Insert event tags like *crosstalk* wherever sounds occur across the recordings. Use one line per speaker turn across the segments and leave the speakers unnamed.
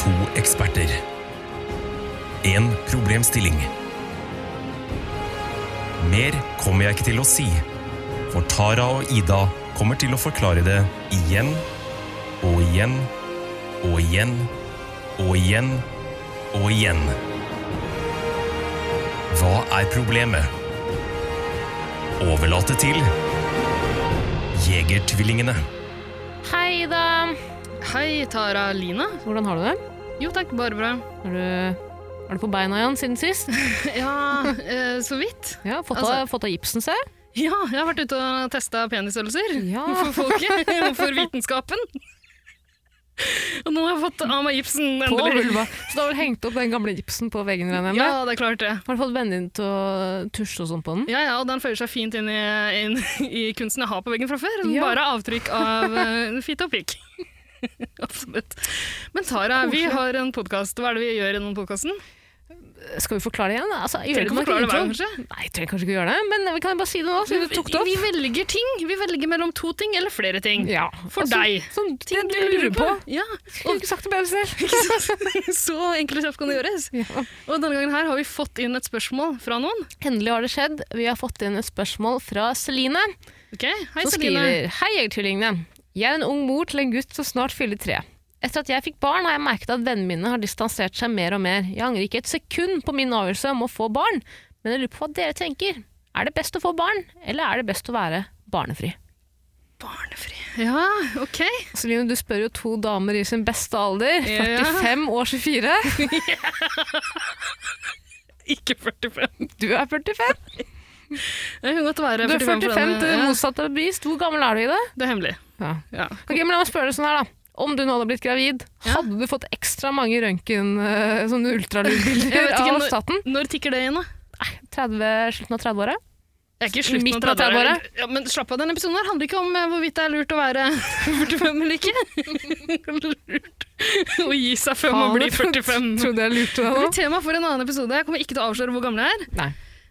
To eksperter. En problemstilling. Mer kommer jeg ikke til å si, for Tara og Ida kommer til å forklare det igjen og igjen og igjen og igjen og igjen. Hva er problemet? Overlate til Jegertvillingene.
Hei, Ida.
Hei, Tara Line.
Hvordan har du det?
Jo takk, bare bra. *laughs*
Er du, er du på beina igjen siden sist?
Ja, eh, så vidt.
Ja, Fått av,
Altså-
fått av gipsen, se.
Ja, jeg har vært ute og testa penisstørrelser.
Ja.
For folket. *laughs* For vitenskapen. *laughs* Og nå har jeg fått av meg gipsen,
*laughs* På
endelig.
vulva. Så du har vel hengt opp den gamle gipsen på veggen? regner jeg med?
Ja, det er klart det.
Har du fått vennen din til å tusje og sånn på den?
Ja, ja, og den føyer seg fint inn i, inn *laughs* i kunsten jeg har på veggen fra før.
Ja.
Bare avtrykk av uh, fitte og pikk. *laughs* Absolutt. Men Tara, vi
Koselig.
har en podkast. Hva er det vi gjør i den podkasten?
Skal vi forklare det igjen? Altså, gjør
Trenger ikke
det
forklare det
nok
hver
intro?
gang, kanskje?
Nei, jeg trenger kanskje ikke gjøre det, men vi kan bare si det nå, siden du tok det
Vi
opp.
velger ting. Vi velger mellom to ting eller flere ting.
Ja,
For
altså,
deg.
Sånn, det du lurer på.
Ja,
Skulle ikke sagt det bedre selv.
*laughs*
*laughs*
ikke sant? Så enkelt og kjapt kan det gjøres.
Ja.
Og denne gangen her har vi fått inn et spørsmål fra noen.
Endelig har det skjedd. Vi har fått inn et spørsmål fra Celine.
Ok, Hei,
som
Celine.
skriver Hei, Jegertvillingene. Jeg er en ung mor til en gutt som snart fyller tre. Etter at jeg fikk barn, har jeg merket at vennene mine har distansert seg mer og mer. Jeg angrer ikke et sekund på min avgjørelse om å få barn, men jeg lurer på hva dere tenker. Er det best å få barn, eller er det best å være barnefri?
Barnefri. Ja, ok. *laughs*
Celine, du spør jo to damer i sin beste alder.
Ja.
45 og 24.
Ikke 45.
Du er 45.
Det kan godt være
Du er
45
45
for denne-
til
ja,
motsatt er bevist. Hvor gammel er du i det?
Det er hemmelig.
Ja.
Ja.
Ok, men La meg spørre deg sånn her, da. Om du nå hadde blitt gravid,
Ja.
hadde du fått ekstra mange røntgen, eh, sånne
Jeg
ultralydbilder
vet ikke
av
når-
staten?
Når tikker det inn, da?
30, slutten av 30-året?
Jeg er ikke slutten
Midt på
av
30-året.
30-året. Ja, men slapp av, denne episoden her handler ikke om eh, hvorvidt det er lurt å være *laughs* 45 eller *laughs* ikke. lurt å gi seg før man blir 45.
Trodde jeg lurte
Det
deg
blir
nå.
tema for en annen episode. Jeg kommer ikke til å avsløre hvor gammel jeg er.
Nei.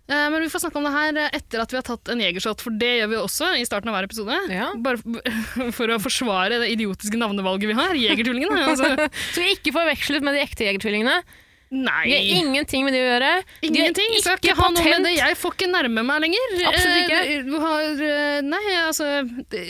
Eh, Men vi får snakke om det her eh, etter at vi har tatt en jegershot, for det gjør vi også i starten av hver episode.
Ja.
Bare f- *laughs* for å forsvare det idiotiske navnevalget vi har. Jegertvillingene. Altså.
Så vi ikke forvekslet med de ekte jegertvillingene. De har
Nei,
ingenting med de å gjøre. De har
ingenting. Skal ikke
ikke
ha noe med
patent.
det. Jeg får ikke nærme meg lenger.
Absolutt ikke.
Eh, Du har eh, Nei, altså eh,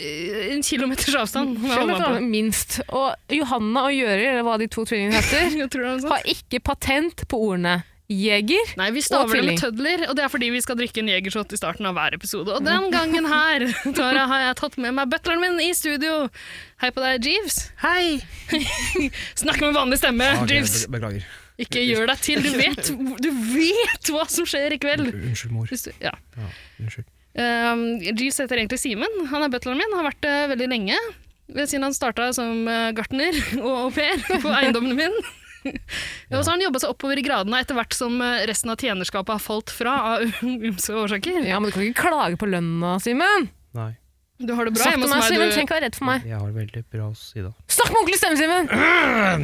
En kilometers avstand. må jeg holde meg på.
Minst. Og Johanna og Gjøri, eller hva de to tvillingene *laughs* heter,
*laughs* Jeg tror det er noe sånt.
har ikke patent på ordene jeger.
Nei, vi
Og
staver det
tvilling.
med tødler, og det er fordi vi skal drikke en jegershot i starten av hver episode. Og den gangen her, *laughs* Tara, har jeg tatt med meg butleren min i studio. Hei på deg, Jeeves.
Hei!
*laughs* Snakk med vanlig stemme,
Ah, ok,
Jeeves.
be- Beklager.
Ikke gjør deg til. Du vet, du vet hva som skjer i kveld.
Unnskyld, mor.
Hvis du, ja.
Ja, unnskyld.
Um, Jeeves heter egentlig Simen. Han er butleren min, har vært det veldig lenge. eh, Siden han starta som eh, gartner *laughs* og au pair på eiendommen min. Og så har han jobba seg oppover i gradene etter hvert som eh, resten av tjenerskapet har falt fra av *laughs* ymse årsaker.
Ja, men du kan ikke klage på lønna, Simen.
Nei,
Du har det bra
Snakk
hjemme
med
hos
meg,
meg.
Simen.
du-
Trenger ikke være redd for meg.
jeg har veldig bra sida.
Snakk med ordentlig stemme, Simen!
*clears throat*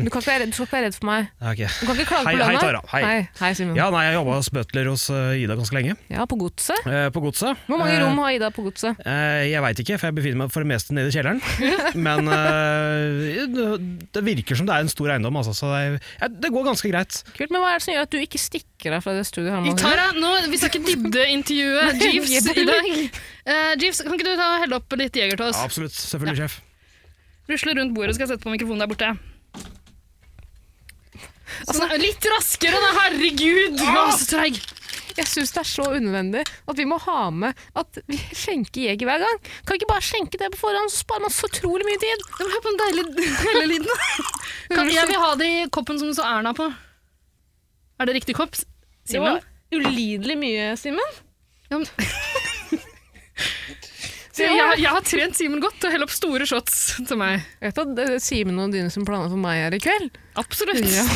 Du, kan ikke være redd, du skal ikke være redd for meg.
Ok.
Du kan ikke klage
Hei,
på lønna.
hei, Tara. Hei.
Hei, hei Simen. Ja.
Ja, nei, jeg jobba hos butler hos eh, Ida ganske lenge.
på godset.
eh, på godset.
Hvor mange
Eh,
rom har Ida på godset?
eh, jeg veit ikke, for jeg befinner meg for det meste nede i
*laughs*
kjelleren. Men eh, det- det virker som det er en stor eiendom, altså, så det, er- ja, det går ganske greit.
Kult, men hva er det som gjør at du ikke stikker deg fra det studioet? her,
I
Malin?
Tara, nå, vi skal ikke
*laughs*
dybdeintervjue Jeeves i dag. Eh, Jeeves, kan ikke du ta og helle opp litt jeger til oss?
Absolutt. Selvfølgelig, sjef.
Rusle rundt bordet, skal jeg sette på mikrofonen der borte. Sånn, litt raskere, da! Herregud! Du var så treig.
Jeg syns det er så unødvendig at vi må ha med at vi skjenker jeger hver gang. Kan vi ikke bare skjenke det på forhånd, så sparer man så utrolig mye tid?
Det var på den deilige hele lyden. Kan, jeg vil ha det i koppen som det står Erna på. Er det riktig kopp? Simen?
Det var ulidelig mye, Simen.
Ja, men-
Ja.
jeg, jeg har trent Simen godt til å helle opp store shots til meg.
Vet du at det er Simen og dine som planer for meg her i kveld?
Absolutt.
Ja.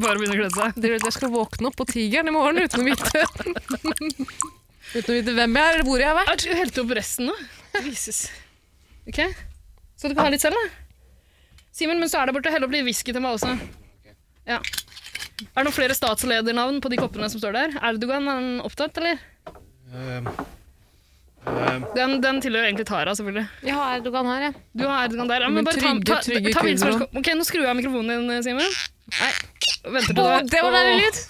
Bare begynne å klede seg.
Dere vet jeg skal våkne opp på Tigeren i morgen uten å vite *laughs* Uten å vite hvem jeg er, eller hvor jeg har vært.
Er du helt opp resten nå? Jesus. Ok. Så du kan ha litt selv, da. Simen, mens du er der borte, hell opp litt whisky til meg også. Ja. Er det noen flere statsledernavn på de koppene som står der? Erdogan, er han opptatt, eller? Den, den tilhører egentlig Tara, selvfølgelig.
Jeg har Erdogan her, jeg.
Du har Erdogan der. Ja, men
Men
bare
trygge,
ta, ta,
trygge
ta
kvinner.
bildet. Ok, nå skrur jeg av mikrofonen din, eh, Simen. Venter til
Å,
det-
det var deilig
Åh.
lyd!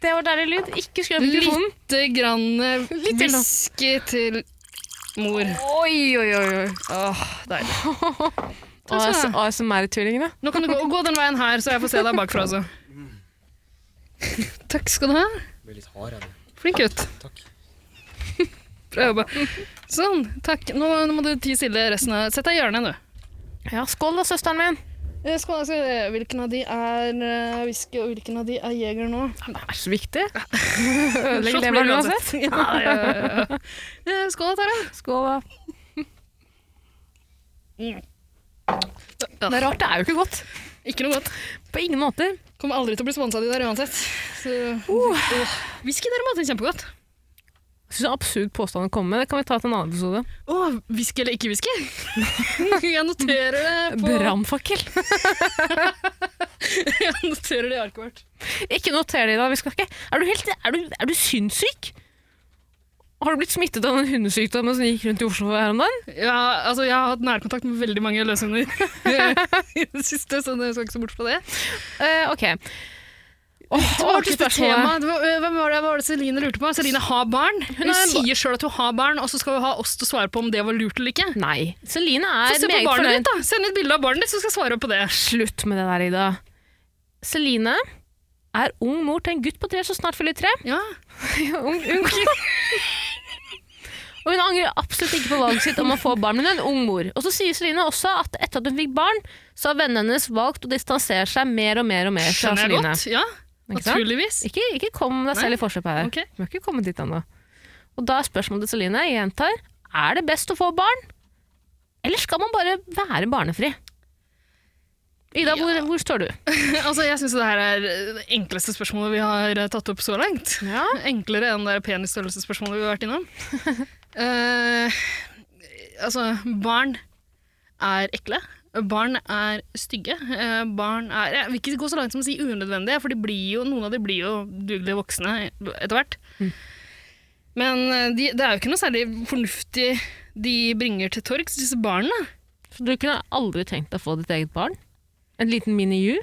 Det var deilig lyd. Ikke skru av mikrofonen.
Lite grann eh,
Litt grann.
hviske til mor.
Oi, oi, oi. oi.
Åh, deilig. Takk skal du ha.
ASMR-tvillingene.
Nå kan du gå, gå den veien her, så jeg får se deg bakfra også. Takk skal du ha.
Blir litt hard av det.
Flink gutt.
Takk.
Bra jobba. Sånn, takk. Nå, nå må du tie stille resten av Sett deg i hjørnet, du.
Ja, skål da, søsteren min.
Eh, Skål. skal vi se. Hvilken av de er eh, whisky, og hvilken av de er jeger nå?
Det er så viktig.
Shot
Ødelegger
blir
leveren
det
uansett.
Ja, ja, ja, ja. Eh, Skål, Tara.
Skål da.
Ja, Mm.
Det er rart, det er jo ikke godt.
Ikke noe godt.
På ingen måter.
Kommer aldri til å bli sponsa av de der uansett. Så, Åh, Whisky derimot er kjempegodt.
Jeg synes det er en absurd påstand å komme med. Det kan vi ta til en annen episode.
Å, whisky eller ikke whisky? *laughs* jeg noterer det på
Brannfakkel.
*laughs* Jeg noterer det i arket vårt.
Ikke noter det i dag. Vi skal ikke. Er du, helt, er, du, er du sinnssyk? Har du blitt smittet av den hundesykdommen som gikk rundt i Oslo her om dagen?
Ja, altså, jeg har hatt nærkontakt med veldig mange løshunder *laughs* i det siste, så jeg skal ikke se bort fra det.
Eh, ok. Åh,
Tilbake
til
til
spørsmålet.
temaet. Det var- øh, Hvem var det, hva var det Celine lurte på? Celine har barn.
har
Hun
en ba-
sier sjøl at hun har barn, og så skal hun ha oss til å svare på om det var lurt eller ikke.
Nei. Celine
Så
er
se på
meget
barnet ditt,
fornøyd.
da. Send et bilde av barnet ditt, så skal jeg svare på det.
Slutt med det der, Ida. Celine er ung mor til en gutt på tre som snart fyller
*laughs*
tre.
Ja.
ung, ung. *laughs* Og hun angrer absolutt ikke på valget sitt om å få barn, men hun er en ung mor. Og så sier Celine også at etter at hun fikk barn, så har vennene hennes valgt å distansere seg mer og mer og mer fra
Skjønner jeg
Celine.
godt. Ja,
Ikke sant?
naturligvis.
*laughs* Ikke, ikke kom deg selv i forsøk her.
Ok.
Vi har ikke kommet dit ennå. Og da er spørsmålet til Celine, jeg gjentar, er det best å få barn? Eller skal man bare være barnefri? Ida, hvor, hvor står du?
Altså, jeg syns det her er det enkleste spørsmålet vi har eh, tatt opp så langt.
Ja.
Enklere enn det der penisstørrelsesspørsmålet vi har vært innom. Eh, altså, barn er ekle. Barn er stygge. Eh, barn er Jeg vil ikke gå så langt som å si unødvendige, for de blir jo, noen av de blir jo dugelige voksne etter hvert. Men eh, de, det er jo ikke noe særlig fornuftig de bringer til torgs, disse barna.
Så du kunne aldri tenkt deg å få ditt eget barn? En liten mini-you?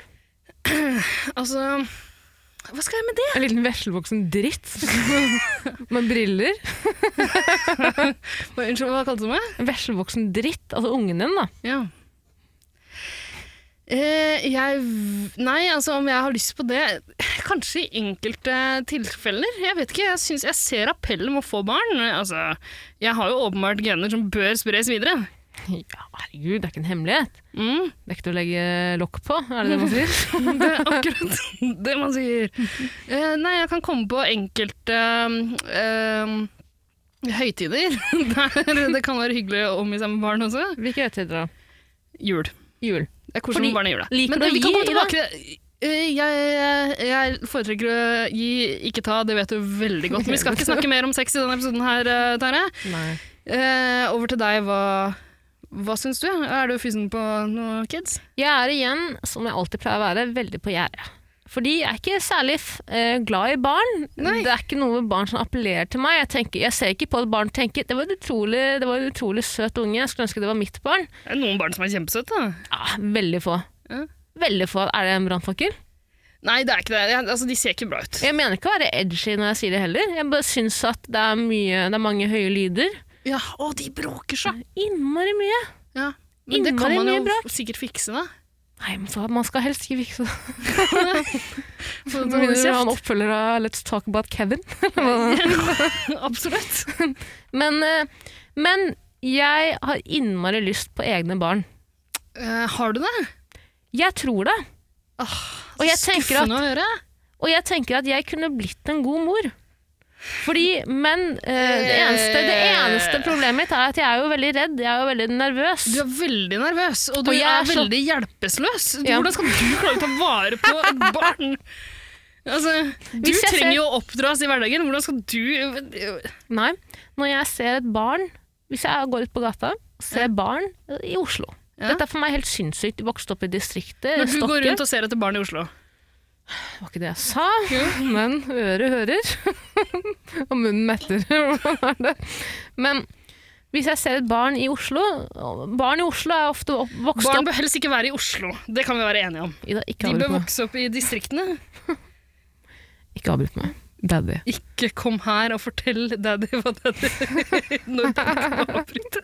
Altså Hva skal jeg med det?
En liten veslevoksen *laughs* dritt? Med briller?
Hva- Unnskyld, hva kalte du meg?
En veslevoksen dritt, altså ungen din, da.
Ja. Eh, jeg v- Nei, altså om jeg har lyst på det Kanskje i enkelte tilfeller. Jeg vet ikke, jeg syns jeg ser appellen med å få barn. Altså, jeg har jo åpenbart gener som bør spres videre.
Ja, herregud, det er ikke en hemmelighet.
Mm,
Det er ikke til å legge lokk på, er det det man *laughs* sier?
det er akkurat *laughs* det man sier. Eh, nei, jeg kan komme på enkelte eh, høytider *laughs* der det kan være hyggelig å omgi seg med barn også.
Hvilke høytider da?
Jul.
Jul.
Det er koselig
Fordi-
med barn i jula.
liker
Men
du
eh,
å
vi kan
gi
komme tilbake til Eh, jeg, jeg foretrekker å gi, ikke ta, det vet du veldig godt. Men vi *laughs* skal ikke snakke mer om sex i denne episoden her, eh, Tare.
Nei.
Eh, over til deg, hva, hva syns du? Er du fysen på noen kids?
Jeg er igjen, som jeg alltid pleier å være, veldig på gjerdet. Fordi jeg er ikke særlig f- eh, glad i barn.
Nei.
Det er ikke noe med barn som appellerer til meg. Jeg, tenker, jeg ser ikke på at barn tenker det var, en utrolig, det var en utrolig søt unge, jeg skulle ønske det var mitt barn.
Det er noen barn som er kjempesøte, da.
Ja, veldig få.
Ja.
Veldig få. Er det en brannfakkel?
Nei, det er ikke det. Jeg, altså, de ser ikke bra ut.
Jeg mener ikke å være edgy når jeg sier det heller. Jeg bare syns at det er, mye, det er mange høye lyder.
Ja, Å, de bråker så!
Innmari mye.
Ja. Men det kan
Innmari
man jo
mye bråk.
sikkert fikse, *laughs* da.
Nei, men så, man skal helst ikke fikse det.
For å ta
Med mindre *laughs* han
kjeft.
oppfølger av Let's Talk About Kevin.
*laughs* Absolutt.
Men, eh, men jeg har innmari lyst på egne barn.
Eh, har du det?
Jeg tror det.
Åh,
Og jeg tenker at-
Skuffende å høre.
Og jeg tenker at jeg kunne blitt en god mor. Fordi, men eh, det, eneste, det eneste problemet mitt er at jeg er jo veldig redd. Jeg er jo veldig nervøs.
Eh. Du er veldig nervøs, og du
Og jeg
er,
er så-
veldig hjelpeløs.
Ja.
Hvordan skal du klare å ta vare på et barn? Altså, du
Hvis jeg ser-
trenger jo å oppdras i hverdagen. Hvordan skal du
Nei. Når jeg ser et barn Hvis jeg går ut på gata og ser barn i Oslo
Ja.
Dette er for meg helt sinnssykt. Vokst opp i distriktet.
Når du
Stokke.
går rundt og ser etter barn i Oslo.
Det var ikke det jeg sa, men *laughs* øret hører. og munnen metter. Hva er det? men Hvis jeg ser et barn i Oslo Barn i Oslo er ofte opp, vokst
Barn
opp
bør helst ikke være i Oslo. Det kan vi være enige om.
Ida, ikke
De
avbryt
bør
meg.
vokse opp i distriktene.
Ikke avbryt meg. Daddy.
Ikke kom her og fortell daddy hva daddy *laughs* Når daddy kan avbryte.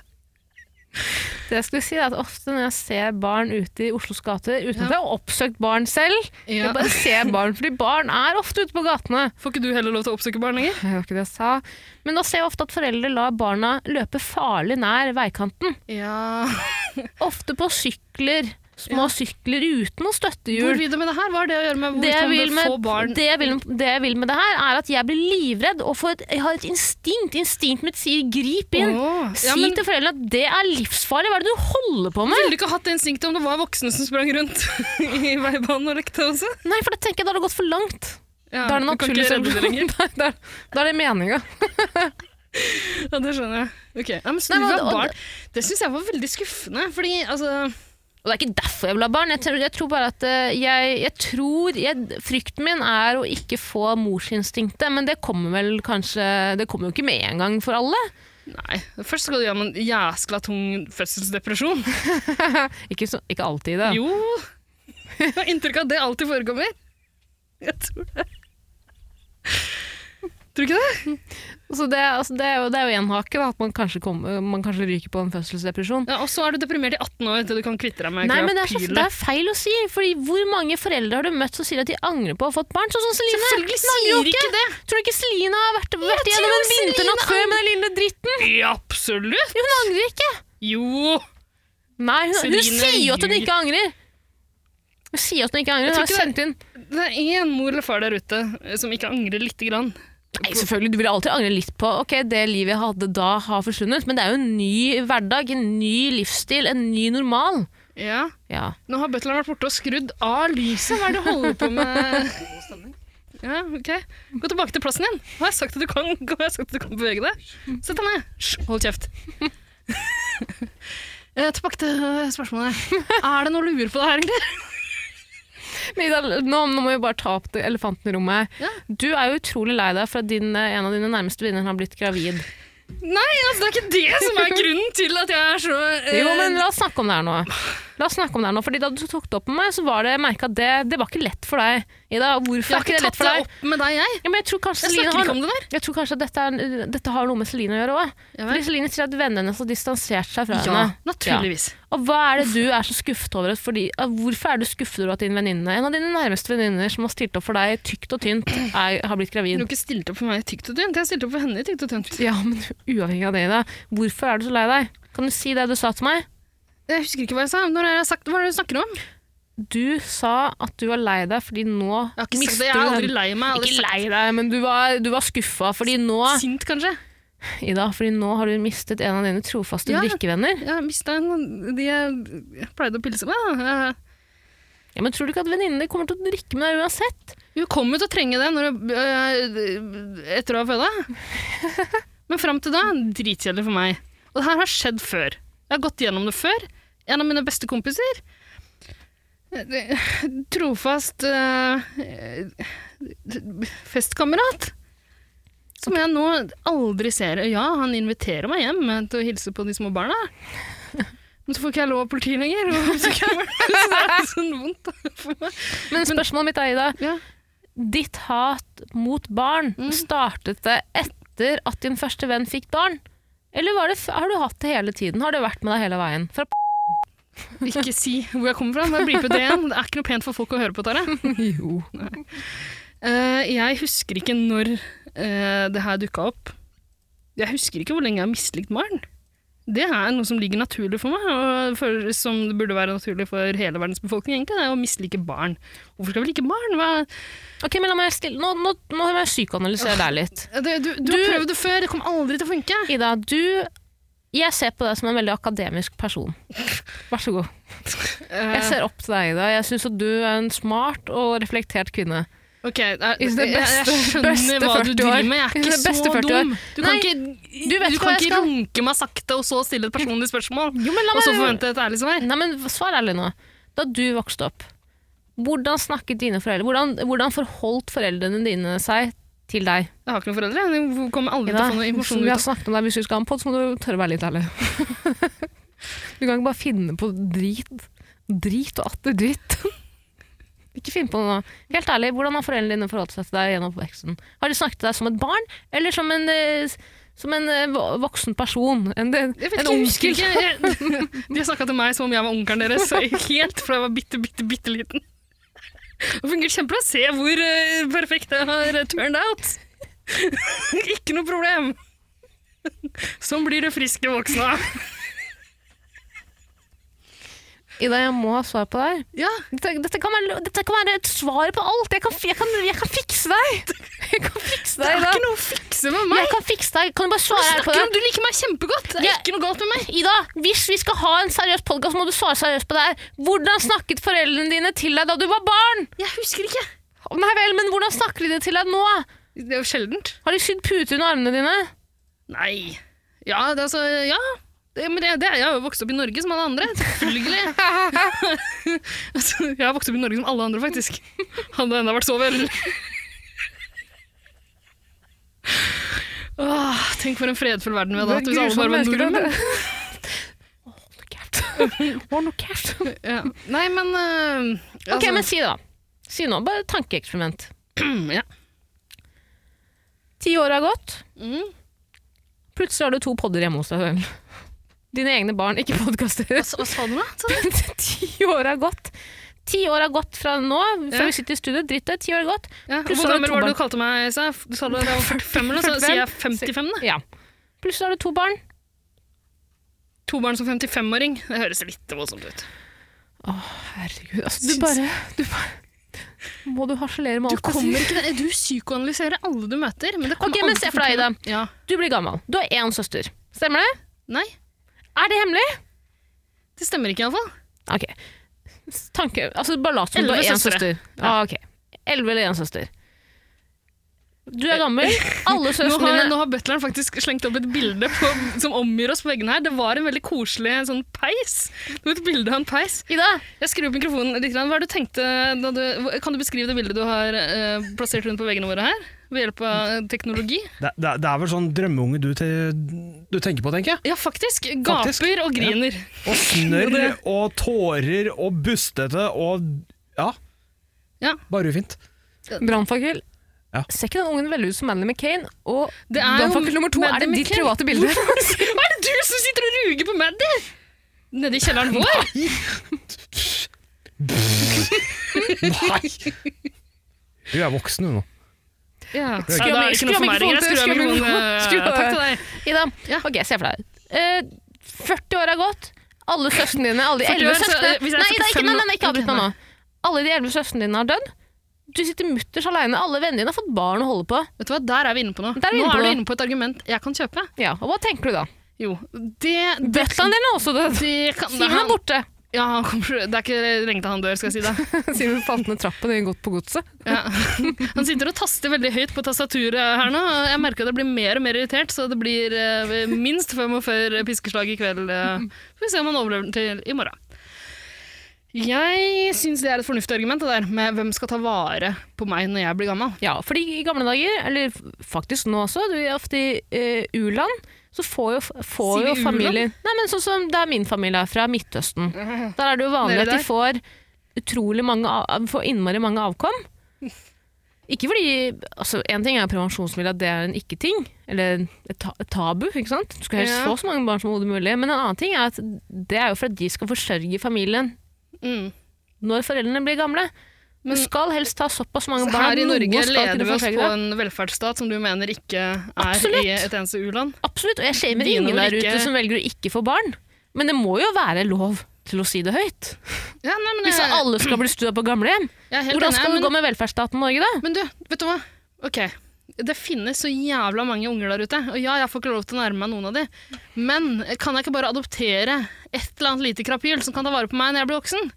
Det jeg skulle si er at Ofte når jeg ser barn ute i Oslos gater, uten at jeg har oppsøkt barn selv Jeg bare ser barn, fordi barn er ofte ute på gatene.
Får ikke du heller lov til å oppsøke barn lenger?
Det var ikke det jeg sa. Men da ser jeg ofte at foreldre lar barna løpe farlig nær veikanten.
Ja.
Ofte på sykler. Små sykler uten noe
Hvor
støttehjul.
vil du med det her? Hva er det å gjøre med
Det jeg,
hvorvidt
vil
man bør få
med,
barn?
det, jeg vil, det jeg vil med det her, er at jeg blir livredd og får et, jeg har et instinkt. Instinktet mitt sier 'grip inn'.
Åh,
Si
ja, men
til foreldrene at det er livsfarlig. Hva er det du holder på med?
Ville du ikke hatt det instinktet om det var voksne som sprang rundt *laughs* i veibanen og lekte også?
Nei, for da tenker jeg da har det gått for langt.
Ja,
da er det
du kan ikke
naturlig
redde det lenger. *laughs*
Nei, *laughs* da, da er det meninga.
Ja, det skjønner jeg. Ok, ja, men så
Nei,
du
men
var
det-
barn. Det syns jeg var veldig skuffende, fordi altså
Og det er ikke derfor jeg vil ha barn. Jeg tror, jeg tror bare at eh, jeg, jeg tror jeg, Frykten min er å ikke få morsinstinktet, men det kommer vel kanskje Det kommer jo ikke med en gang for alle.
Nei. Først skal du gjennom en jæskla tung fødselsdepresjon.
Ikke, så, ikke alltid, da.
Jo! *laughs* Jeg har inntrykk av at det alltid forekommer. Jeg tror det. Tror du ikke det?
Så det, altså, det, er jo, det er jo en hake, da, at man kanskje, kommer- man kanskje ryker på en fødselsdepresjon.
Ja, og så er du deprimert i 18 år til du kan kvitte deg med
Nei, men det er, så,
krapylet.
det er feil å si. Fordi Hvor mange foreldre har du møtt som sier at de angrer på å ha fått barn? Sånn som Celine.
Selvfølgelig
Hun angrer jo
sier ikke det!
Tror du ikke Celine har vært, vært
Jeg
igjennom
tror
en vinternatt
Celine
før med den lille dritten?
Ja, absolutt!
Hun angrer ikke!
Jo!
Nei, hun, hun
Celine
sier jo at hun
ljuger.
ikke angrer! Hun sier at hun ikke angrer.
Jeg
Hun
tror
har
ikke
sendt inn
Det er én mor eller far der ute eh, som ikke angrer lite grann.
Nei, selvfølgelig, du vil alltid angre litt på Ok, det livet jeg hadde da, har forsvunnet. Men det er jo en ny hverdag, en ny livsstil, en ny normal.
Ja.
Ja.
Nå har butleren vært borte og skrudd av lyset. Hva er det du holder på med? *laughs* Ja, ok. Gå tilbake til plassen din. Nå har jeg sagt at du kan, nå har jeg sagt at du kan bevege deg. Sett deg ned. Hysj, hold kjeft. *laughs* Eh, tilbake til eh, spørsmålet. Er det noe å lure på det her, egentlig?
Men Ida, nå, nå må vi bare ta opp det- elefanten i rommet.
Ja.
Du er jo utrolig lei deg for at din, eh, en av dine nærmeste venner har blitt gravid.
Nei, altså, det er ikke det som er grunnen til at jeg er så eh,
Jo, men la oss snakke om det her nå. La oss snakke om det her nå, fordi Da du tok det opp med meg, så var det jeg merket at det, det var ikke lett for deg. Ida, hvorfor er
Jeg har
ikke
ikke
det lett
tatt
for
det
deg?
opp med deg, jeg.
Ja, men jeg tror kanskje
Jeg
Celine
snakker
har,
ikke om det der.
jeg tror kanskje at dette, er, uh, dette har noe med Celine å gjøre òg.
Ja vel.
Fordi Celine sier at vennene hennes har distansert seg fra
Ja,
henne.
naturligvis.
Og hva er det du er så skuffet over? at- Fordi, ah, hvorfor er du skuffet over at din venninne, en av dine nærmeste venninner som har stilt opp for deg tykt og tynt, er, har blitt
Du
gravid?
har ikke stilt opp for meg i tykt og tynt. Jeg har stilt opp for henne i tykt og tynt.
*laughs* Ja, men uavhengig av det, Ida. Hvorfor er du så lei deg? Kan du si det du sa til meg?
Jeg husker ikke hva jeg sa. Når har jeg sagt, hva er det du snakker om?
Du sa at du var lei deg fordi nå
Jeg har ikke sagt
mister
det. Jeg er
du
aldri
den.
lei meg. Jeg har aldri
Ikke
sagt
lei deg, men du var, du var skuffa fordi nå,
Sint, kanskje?
Ida, fordi nå har du mistet en av dine trofaste
Ja.
drikkevenner.
Jeg har mista en de jeg jeg pleide å pilse med. da. Jeg-
Ja, men tror du ikke at venninnen din kommer til å drikke med deg uansett?
Hun kommer til å trenge det når hun, øh, etter å ha føda. Men fram til da dritkjedelig for meg. Og det her har skjedd før. Jeg har gått gjennom det før. En av mine beste kompiser. eh, Trofast øh, eh, festkamerat. Som jeg nå aldri ser. Og Ja, han inviterer meg hjem til å hilse på de små barna. Men så får ikke jeg lov av politiet lenger. og Så kan jeg- så det er sånn vondt da, for meg.
Men spørsmålet mitt er, Ida,
Ja.
ditt hat mot barn
Mm.
startet det etter at din første venn fikk barn? Eller var det, f- har du hatt det hele tiden? Har det vært med deg hele veien?
*laughs*
Fra p-
Ikke si hvor jeg kommer fra. men jeg blir på Det igjen. Det er ikke noe pent for folk å høre på, Tare.
jo.
Eh, jeg husker ikke når eh, det her dukka opp. Jeg husker ikke hvor lenge jeg har mislikt Maren. Det er noe som ligger naturlig for meg, og for, som det burde være naturlig for hele verdens befolkning. egentlig, det er å mislike barn. Hvorfor skal vi like barn? Hva?
Ok, men la meg stille. Nå, nå, nå må jeg psykoanalysere deg *laughs* litt.
Det, du, du, har
Du-
prøvd det før, det kommer aldri til å funke.
Ida, du Jeg ser på deg som en veldig akademisk person. Vær så god. Jeg
Eh,
ser opp til deg, Ida. Jeg syns at du er en smart og reflektert kvinne.
ok, eh,
I
jeg,
sine
jeg
beste- beste
skjønner hva du
40 år.
driver med. Jeg
I
er ikke
sine beste
så
40 år.
dum. Du
Nei,
kan ikke,
du
du
vet ikke hva
kan
jeg
ikke
skal.
runke meg sakte og så stille et personlig spørsmål.
Jo, men la
Og så
meg
forvente et ærlig svar.
Nei, men Svar ærlig nå. Da du vokste opp, hvordan snakket dine foreldre Hvordan, hvordan forholdt foreldrene dine seg til deg.
Jeg har ikke noen foreldre. Jeg kommer aldri til
Ida,
å få noe
vi
informasjon ut
har
av
snakket om deg hvis du skal ha en pod, så må du tørre å være litt ærlig. *laughs* du kan ikke bare finne på drit. Drit og atter dritt. *laughs* ikke finn på noe. Helt ærlig, hvordan har foreldrene dine forholdt seg til deg gjennom oppveksten? Har de snakket til deg som et barn, eller som en, eh, som en eh, vo- voksen person? En, en
Jeg vet ikke, jeg husker
onkel?
ikke. Jeg, *laughs* de har snakka til meg som om jeg var onkelen deres, så helt fra jeg var bitte, bitte, bitte liten. Det fungerer kjempebra. Se hvor eh, perfekt det har turned out. *laughs* ikke noe problem. Sånn blir det friske voksne av.
Ida, jeg må ha svar på deg.
Ja,
Dette, dette, kan være, dette kan være et svar på alt. Jeg kan, jeg kan, jeg kan fikse deg! *laughs* Jeg kan fikse
det
deg,
er
Ida.
ikke noe å fikse med
Jeg
meg.
kan fikse deg. Kan du bare svare her på
Snakker
det?
om, du liker meg kjempegodt. Det er
Jeg-
ikke noe galt med meg.
Ida, hvis vi skal ha en seriøs podkast, må du svare seriøst på det her. Hvordan snakket foreldrene dine til deg da du var barn?
Jeg husker ikke.
Å, Nei vel, men hvordan snakker de det til deg nå?
Det er jo sjeldent.
Har de sydd pute under armene dine?
Nei. Ja, det, er altså, ja. Det, men det, det, jeg har jo vokst opp i Norge som alle andre. Selvfølgelig. *laughs* altså, jeg har vokst opp i Norge som alle andre, faktisk. Hadde ennå vært så vel. Åh, tenk for en fredfull verden vi hadde hatt hvis alle bare var nordmenn.
Å, noe kjært.
Ja. Nei, men øh,
Ok,
altså,
men si det, da. Si nå, bare et tankeeksperiment.
*clears throat* ja.
Ti år har gått.
Mm.
Plutselig har du to podder hjemme hos deg. Dine egne barn, ikke podkaster.
Hva, s- hva sa du nå? Sa du?
*laughs* Ti år har gått. Ti år har gått fra nå, før
Ja.
vi sitter i studio. Dritt det, ti år har gått.
*clears throat* Ja,
Plutselig
hvor
har du
gammel
to
var det
barn.
du kalte meg? Sa? jeg? Du sa det var 45, eller noe, så sier jeg 55, da.
Ja. Plutselig har du to barn.
To barn som 55-åring. Det høres litt voldsomt ut.
Herregud, altså, du
Syns-
bare, du bare Må du harselere med
Du
alt
kommer
sier?
ikke ned. Du psykoanalyserer alle du møter. Men det kommer
Ok, men
aldri
se for deg,
til å- Ja.
Du blir gammel. Du har én søster. Stemmer det?
Nei,
Er det hemmelig?
det stemmer ikke iallfall.
Ok. S- Tanke Altså, bare lat som du har
Elleve
én
søstre.
søster. Ah, ok. Elleve eller én søster. Du er *laughs* gammel. Alle
Nå
søstrene
har,
dine
nå har butleren faktisk slengt opp et bilde på, som omgir oss på veggen her. Det var en veldig koselig sånn peis. Det var et bilde av en peis.
Ida!
Jeg skrur opp mikrofonen litt. grann. Hva er det du tenkte da du, hva- kan du beskrive det bildet du har eh, plassert rundt på veggene våre her? Ved hjelp av eh, teknologi?
Det, det, det er vel sånn drømmeunge du, te, du tenker på, tenker jeg.
Ja, faktisk. Gaper
Faktisk.
og griner.
Og snørr og tårer og bustete og ja.
Ja.
Bare ufint.
Brannfakkel.
Ja.
Ser ikke den ungen veldig ut som Manny McCain? Og
Det er jo
brannfakkel nummer to
Madeleine
er det ditt
McCain.
private bilde.
*laughs* Hva er det du som sitter og ruger på Maddy? Nede i kjelleren vår?
Nei! Du er voksen, du nå.
Ja.
Skru
Nei, da er det ikke noe for meg lenger. Jeg Skrur av
mikrofonen.
mikrofonen.
Skru
Skru
av.
Takk til deg.
Ida,
Ja.
ok, se for deg. Eh, 40 år har gått. Alle søstrene dine, alle de
40
elleve
år, så,
søstrene
eh, hvis jeg er
Nei, Ida, ikke,
45
nei, nei, nei, ikke avbryt
nå.
meg nå. Alle de elleve søstrene dine har dødd. Du sitter mutters aleine. Alle vennene dine har fått barn å holde på.
Vet du hva, Der er vi inne på noe.
Der er vi
Nå
inne på
er du
noe.
inne på et argument jeg kan kjøpe.
Ja, og Hva tenker du da?
Jo, det, det,
Bøtlaen din er også død.
det kan
Simen er
han,
borte. *laughs*
ja, han kommer, Det er ikke lenge til han dør, skal jeg si deg.
Simen falt ned trappen og gått på godset.
Ja. Han sitter og taster veldig høyt på tastaturet her nå. og Jeg merker at jeg blir mer og mer irritert, så det blir eh, minst fem og før piskeslag i kveld. eh. Får vi se om han overlever til i morgen. Jeg syns det er et fornuftig argument, det der med hvem skal ta vare på meg når jeg blir gammel.
Ja, fordi i gamle dager, eller f- faktisk nå også, du er ofte i eh, u-land, så får jo, f- får
Sier vi
jo familier Nei, men sånn som der min familie er fra,
*laughs*
Midtøsten. Der er det jo vanlig
Nede
at de
der?
får utrolig mange av, får innmari mange
*laughs*
avkom. Ikke fordi altså En ting er prevensjonsmiddel, at det er en ikke-ting, eller et, ta et tabu. ikke sant? Du skal helst
Ja.
få så mange barn som overhodet mulig. Men en annen ting er at det er jo for at de skal forsørge familien
Mm.
når foreldrene blir gamle. du
Men-
skal helst ta såpass mange
Så
barn at
her i
noen
Norge
skal kunne
leder vi oss
forsørge
på
deg.
en velferdsstat som du mener ikke er
Absolutt.
i et eneste u-land.
Absolutt, og jeg shamer
Dine
ingen
var
der
ikke-
ute som velger å ikke få barn. Men det må jo være lov til å si det høyt.
Ja, nei, men
Hvis
jeg-
alle skal bli stua på gamlehjem,
jeg er helt
hvordan
enig,
skal det
men,
gå med velferdsstaten Norge da?
Men du, vet du hva? Ok, det finnes så jævla mange unger der ute, og ja, jeg får ikke lov til å nærme meg noen av de, men kan jeg ikke bare adoptere et eller annet lite krapyl som kan ta vare på meg når jeg blir voksen?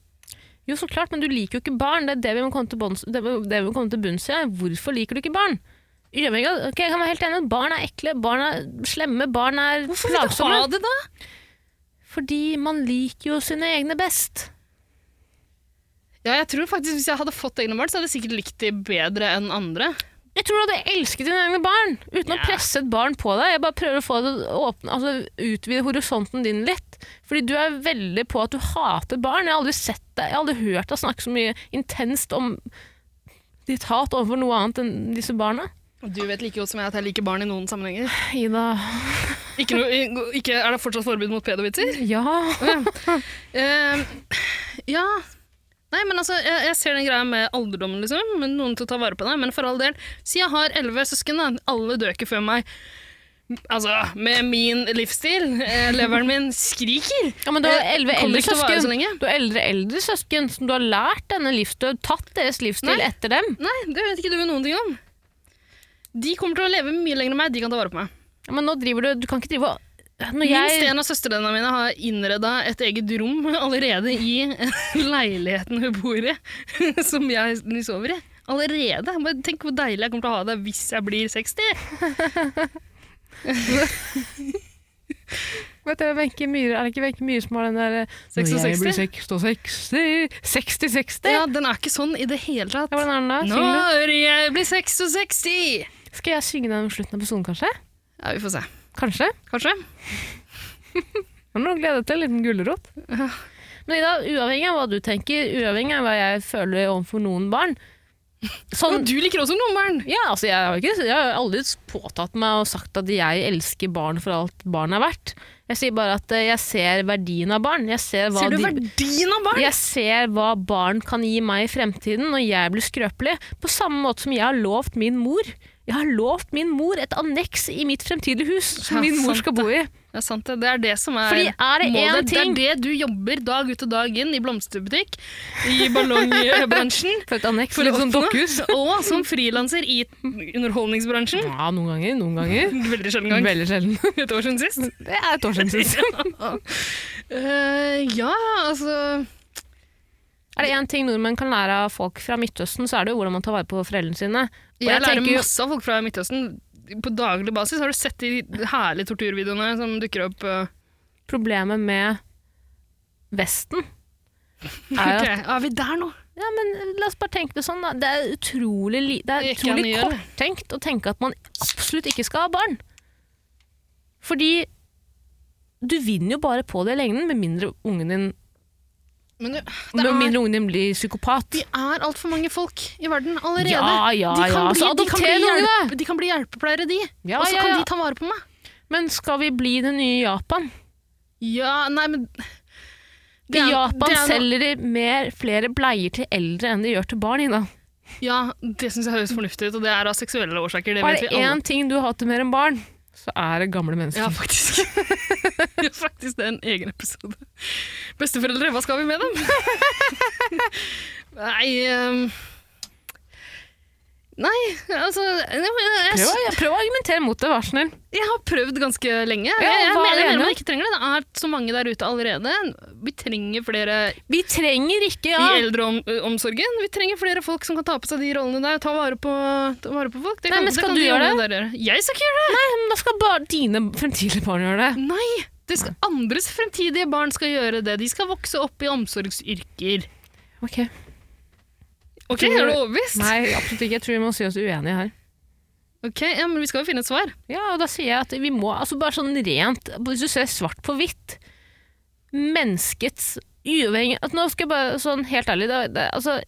Jo, så klart, men du liker jo ikke barn. Det er det vi må komme til, bunns- det er det vi må komme til bunns i. her. Hvorfor liker du ikke barn? Uavhengig av- Ok, jeg kan være helt enig. Barn er ekle, barn er slemme, barn er
Hvorfor vil du ha
plagsomme.
det da?
Fordi man liker jo sine egne best.
Ja, jeg tror faktisk hvis jeg hadde fått egne barn, så hadde jeg sikkert likt de bedre enn andre.
Jeg tror du hadde elsket dine egne barn uten å presse et barn på deg. Jeg bare prøver å få det å åpne, altså utvide horisonten din litt. Fordi du er veldig på at du hater barn. Jeg har aldri sett deg, jeg har aldri hørt deg snakke så mye intenst om ditt hat overfor noe annet enn disse barna.
Du vet like godt som jeg at jeg liker barn i noen sammenhenger.
Ida
Ikke noe, ikke, er det fortsatt forbud mot pedovitser?
Ja.
Eh, ja Nei, men altså, jeg, jeg ser den greia med alderdommen, liksom. Med noen til å ta vare på deg. Men for all del, si jeg har elleve søsken, da. Alle dør ikke før meg. Altså, med min livsstil. Eh, leveren min skriker.
ja, men du har
Eh,
elleve
kommer
eldre
ikke til å vare så
søsken.
lenge.
Du har eldre eldre søsken som du har lært denne livsstil, tatt deres livsstil
Nei.
etter dem.
Nei, det vet ikke du noen ting om. De kommer til å leve mye lenger enn meg. De kan ta vare på meg.
Ja, men nå driver du Du kan ikke drive og Når
Minst
jeg
en av søstrene mine har innreda et eget rom allerede i *laughs* leiligheten hun bor i, *laughs* som jeg nå sover i. Allerede! Men tenk hvor deilig jeg kommer til å ha det hvis jeg blir 60!
Vet dere, Wenche Myhre, Er det ikke Wenche Myhre som har den der eh,
66?
66 60-60?
Ja, den er ikke sånn i det hele tatt.
Hvordan er den da? Synger
Når jeg blir 66!
du? Skal jeg synge den ved slutten av episoden, kanskje?
Ja, vi får se.
Kanskje?
Kanskje.
Har du noe å glede deg til? En liten gulrot? Men Ida, uavhengig av hva du tenker, uavhengig av hva jeg føler overfor noen barn
Og
sånn,
du liker også noen barn!
ja, altså jeg, har ikke, jeg har aldri påtatt meg og sagt at jeg elsker barn for alt barn er verdt. Jeg sier bare at eh, jeg ser verdien av barn. Jeg ser hva
Ser du
de,
verdien av barn?
Jeg ser hva barn kan gi meg i fremtiden når jeg blir skrøpelig. På samme måte som jeg har lovt min mor. Jeg har lovt min mor et anneks i mitt fremtidige hus som
Ja,
min mor
sant
skal bo i.
Det er sant, det. Det er det som er,
Fordi er det
målet.
én ting-
Det er det du jobber dag ut og dag inn i blomsterbutikk, i ballongbransjen. *laughs*
For et anneks.
For
litt
å
sånn
oppnå.
dokkehus.
Og som frilanser i underholdningsbransjen.
Ja, noen ganger. *laughs* Noen ganger.
Veldig sjelden gang. *laughs*
Veldig sjelden.
Et år siden sist.
*laughs* Det er et år siden, syns jeg.
Eh, ja, altså
*laughs* Er det én ting nordmenn kan lære av folk fra Midtøsten, så er det jo hvordan man tar vare på foreldrene sine. Og
Jeg, lærer
tenker jo-
masse av folk fra Midtøsten. På daglig basis. Har du sett de herlige torturvideoene som dukker opp? eh?
Problemet med Vesten er at
Ok, Er vi der nå?
Ja, men la oss bare tenke det sånn, da. Det er utrolig, li det er
Ikke
utrolig
han gjør det.
korttenkt å tenke at man absolutt ikke skal ha barn. Fordi du vinner jo bare på det i lengden, med mindre ungen din,
Men du, det
med
er,
mindre ungen din blir psykopat.
de er altfor mange folk i verden allerede.
Ja, ja,
de kan
ja,
bli,
så
de kan bli,
adopter noen,
hjelp, de kan bli hjelpepleiere, de.
Ja,
og så
ja,
kan
ja.
de ta vare på meg.
Men skal vi bli det nye Japan?
Ja, nei, men
I Japan
det er noe-
selger de mer, flere bleier til eldre enn de gjør til barn. Ina.
Ja, det syns jeg høres fornuftig ut, og det er av seksuelle årsaker. Det
Og er
vet
det
vi alle.
én ting du har hatt mer enn barn, så er det gamle mennesker.
Ja, faktisk. *laughs* Ja, faktisk, det er en egen episode. Besteforeldre, hva skal vi med dem? *laughs* Nei ehm, Nei, altså jeg, jeg,
Prøv,
jeg,
å- prøv å argumentere mot det, vær så snill.
jeg har prøvd ganske lenge. Jeg,
Ja, hva er
jeg mener
det
mer
ene?
man ikke trenger det. Det er så mange der ute allerede. Vi trenger flere
Vi trenger ikke ja.
i eldreomsorgen. Vi trenger flere folk som kan ta på seg de rollene der. Ta vare på, ta vare på folk. Det
Nei,
kan,
men skal
det kan
du
de
gjøre
rollene der gjøre. Jeg skal ikke gjøre det!
Men Da skal bare dine fremtidige barn gjøre det.
Nei! Det skal, andres fremtidige barn skal gjøre det. De skal vokse opp i omsorgsyrker.
Ok.
Ok,
Tror-
Er du overbevist?
Nei, absolutt ikke. Jeg tror vi må si oss uenige her.
Ok, ja, men Vi skal jo finne et svar.
Ja, og da sier jeg at vi må, altså bare sånn rent, hvis du ser svart på hvitt, menneskets uavhengig, at nå skal jeg bare sånn helt ærlig, det, det, altså,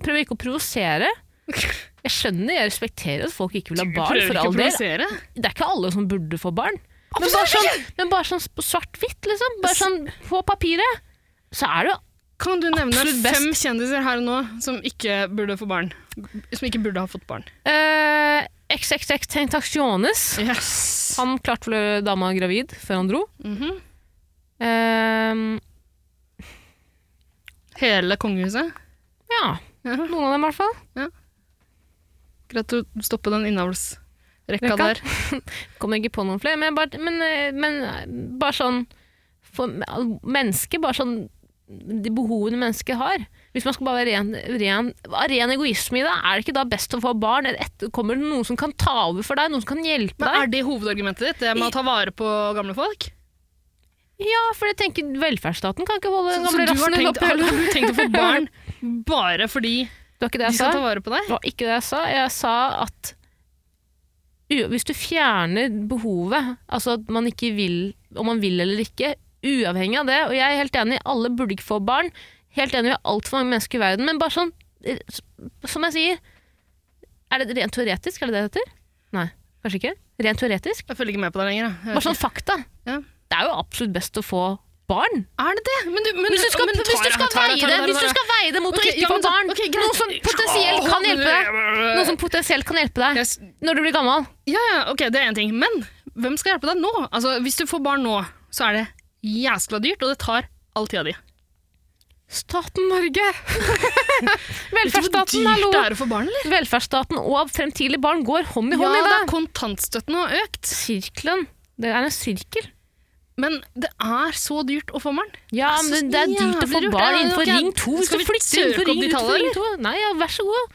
prøv ikke å provosere. Jeg skjønner, jeg respekterer at folk ikke vil ha barn
Prøver
for
ikke å
all del.
provosere.
Det er ikke alle som burde få barn. Men bare sånn, men bare sånn på svart-hvitt, liksom. Bare sånn på papiret. Så er det jo
Kan du nevne
Absolutt best.
fem kjendiser her og nå som ikke burde få barn? Som ikke burde ha fått barn.
eh, XXX Tentaciones.
Yes.
Han klarte vel å gjøre dama gravid før han dro.
Mhm.
Ehm,
Hele kongehuset.
ja,
Ja.
noen av dem i hvert fall.
Greit å stoppe den
Rekka.
innavlsrekka der.
Kommer ikke på noen flere. Men, jeg bare, men, eh, men bare sånn for Mennesket, bare sånn De behovene mennesket har. Hvis man skal bare være ren, ren, av ren egoisme i det, er det ikke da best å få barn? Eller etter, kommer det noen som kan ta over for deg? Noen som kan hjelpe
Men
deg?
Er det hovedargumentet ditt? Det med å ta vare på gamle folk?
Ja, for jeg tenker velferdsstaten kan ikke holde
Så,
den
så
gamle
du har
rassen *laughs*
tenkt,
oppe.
har du tenkt å få barn bare fordi
Det var ikke det
De
jeg sa.
skal ta vare på deg.
Det var ikke det jeg sa. Jeg sa at u- hvis du fjerner behovet, altså at man ikke vil, om man vil eller ikke, uavhengig av det, og jeg er helt enig, alle burde ikke få barn, helt enig med altfor mange mennesker i verden, men bare sånn, eh, s- som jeg sier, er det rent teoretisk, er det det det heter? Nei, kanskje ikke. Rent teoretisk?
Jeg følger ikke med på deg lenger. da. Jeg
Bare
vet
sånn fakta.
Ja.
Det er jo absolutt best å få barn.
ikke. Er det det? Men du, men,
Hvis du skal,
men,
hvis du
Tara,
skal
Tara,
veie
Tara,
det hvis du
Tara.
skal veie det mot
Ok,
å
ja,
ikke få
men så-
barn,
ok, greit.
noe som potensielt kan hjelpe deg. Noe som potensielt kan hjelpe deg
Jeg s-
når du blir gammel.
Ja, ja, ok, det er én ting. Men hvem skal hjelpe deg nå? Altså, Hvis du får barn nå, så er det jæskla dyrt, og det tar all tida di.
Staten Norge!
Vet du hvor
*laughs* Velferdsstaten,
dyrt
hallo!
det er å få barn, eller?
Velferdsstaten og fremtidige barn går hånd i
Ja,
hånd i
da,
dag.
kontantstøtten har økt,
Sirkelen. Det er en sirkel.
men det er så dyrt å få barn.
Ja,
Altså,
men det er dyrt å få
jævlig dyrt.
barn
Ja,
innenfor
ok,
ring 2. Hvis
skal
du
vi
flytter innenfor
søke opp
ring
de
2,
tallene,
ring 2. Nei, ja, vær så god.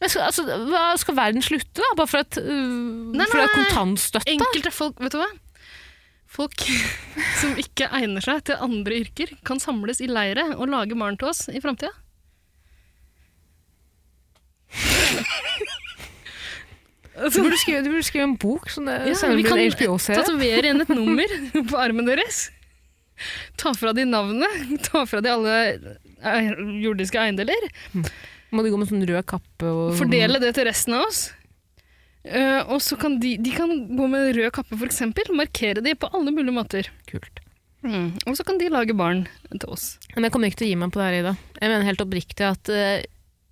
Men skal, altså, hva, skal verden slutte da, bare for at, uh,
Nei,
for at
nei, nei.
kontantstøtta?
Enkelte folk, vet du hva? Folk *laughs* som ikke egner seg til andre yrker, kan samles i leire og lage barn til oss i framtida.
Du burde skrive, du burde skrive en bok som det sender blir en HBO-serie.
tatovere igjen *laughs* et nummer på armen deres. Ta fra de navnet, ta fra de alle eh, jordiske eiendeler.
Må de gå med sånn rød kappe og
Fordele det til resten av oss. Eh, og så kan de, de kan gå med rød kappe, f.eks. Markere de på alle mulige måter.
Kult.
Og så kan de lage barn til oss.
Men jeg kommer ikke til å gi meg på det her, Ida. Jeg mener helt oppriktig at eh,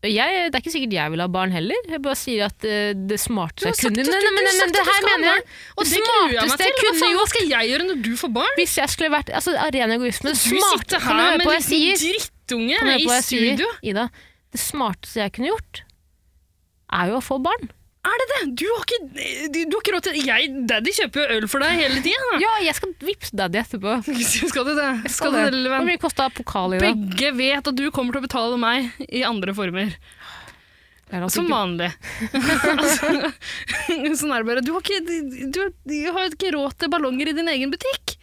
jeg, Det er ikke sikkert jeg vil ha barn heller. Jeg bare sier at eh, det
Du
smarteste
har
jeg
sagt
kunne
at
men, men,
du- du har
men,
sagt
det
at du
her
skal ha
mener jeg.
barn. Og
det
det gruer jeg
smarteste
meg til. Altså,
jeg
Hva
kunne
faen hva
gjort-
skal jeg gjøre når du får barn?
Hvis jeg skulle vært altså, av ren egoisme det
Du
smart-
sitter
Kan du
her
høre
med
på hva
en
jeg sier? Kan du
drittunge
høre på
i
hva jeg sier?
studio.
Ida, det smarteste jeg kunne gjort, er jo å få barn.
Er det det? Du har ikke, du, du har ikke råd til jeg, Daddy kjøper jo øl for deg hele tida.
Ja, *laughs* jeg skal vippse daddy etterpå.
Skal du det? Skal du det, lille
Hvor
venn?
mye kosta pokal i dag?
Begge vet at du kommer til å betale meg i andre former.
Det er altså
Som
ikke-
vanlig. *laughs* Altså, sånn er det bare. Du har, ikke, du, du har ikke råd til ballonger i din egen butikk.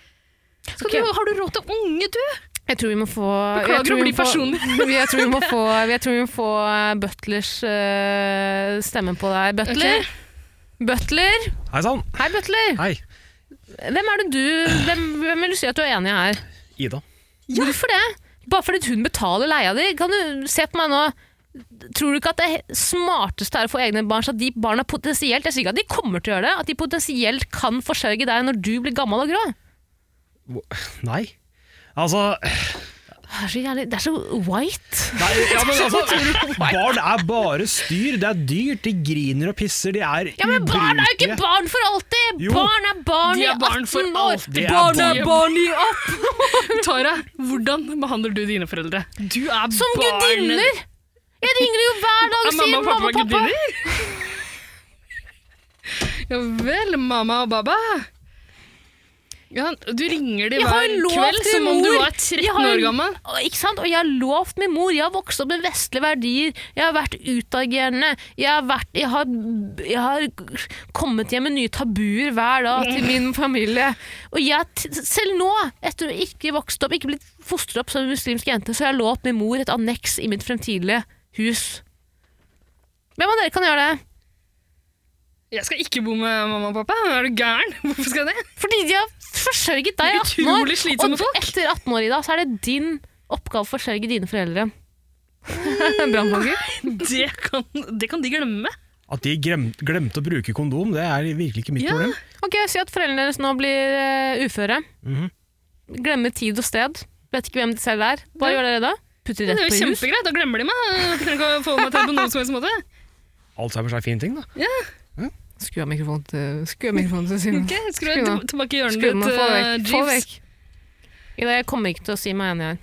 Ok.
Skal du, har du råd til unge, du?
Jeg tror vi må få
Beklager
jeg tror vi
å bli
må få-
personlig.
*laughs* jeg tror vi må få, jeg tror vi må få eh, Butlers eh, stemme på deg. Butler.
Ok.
Butler.
Hei sann!
Hei, Butler.
Hei.
Hvem er det du hvem, hvem vil du si at du er enig i her?
Ida.
Hvorfor det? Bare fordi hun betaler leia di? Kan du se på meg nå? Tror du ikke at det he- smarteste er å få egne barn, så at de barna potensielt Jeg sier ikke at de kommer til å gjøre det, at de potensielt kan forsørge deg når du blir gammel og grå?
Nei. Altså,
Det er så jævlig Det er så white.
nei, ja, *laughs* men altså Barn er bare styr. Det er dyrt. De griner og pisser. De er
Ja, men barn er jo ikke
ubrukelige.
barn for alltid!
Jo.
Barn er barn
De
i
er barn
18
for
år!
alltid. De er barn.
barn i 18
Tara, hvordan behandler du dine foreldre? Du er
Som gudinner! Jeg ringer jo hver dag og
Er
sier
mamma og pappa
og pappa.
gudinner? *laughs* Ja vel, mamma og baba. Ja, du ringer dem
Jeg har
hver
lovt
kveld
min
som om du
mor.
var 13
Jeg har-
år gammel.
Og, ikke sant? og jeg har lovt min mor, jeg har vokst opp med vestlige verdier, jeg har vært utagerende, jeg har, vært, jeg har, jeg har kommet hjem med nye tabuer hver dag til min familie. Og jeg, t- selv nå, etter å ikke vokst opp, ikke blitt fostret opp som en muslimsk jente, så har jeg lovt min mor et anneks i mitt fremtidige hus. Hvem av dere kan gjøre det?
Jeg skal ikke bo med mamma og pappa. Er du gæren? Hvorfor skal jeg det?
Fordi de har forsørget deg i 18 år.
Utrolig slitsomme
Og
folk.
etter 18 år, Ida, så er det din oppgave å forsørge dine foreldre. Brannfogger.
*laughs* Det kan, det kan de glemme.
At de glem, glemte å bruke kondom, det er virkelig ikke mitt
Ja.
problem.
Ok, Si at foreldrene deres nå blir eh, uføre.
Mhm.
Glemmer tid og sted. Vet ikke hvem de selv er. Hva
Ja.
gjør dere da? Putter de
Det
rett
er jo
på hus?
kjempegreit. Da glemmer de meg. Jeg trenger ikke å få meg til på noen som helst måte.
Alzheimers er en fin ting, da.
Skru av mikrofonen til, skru av mikrofonen til
*laughs*
Simen.
Ok, Skru
Skru nå.
til- tilbake i hjørnet
Skru den av,
ditt,
få det
eh,
vekk. Få det
Jeeves.
vekk. Ida, jeg kommer ikke til å si meg enig her.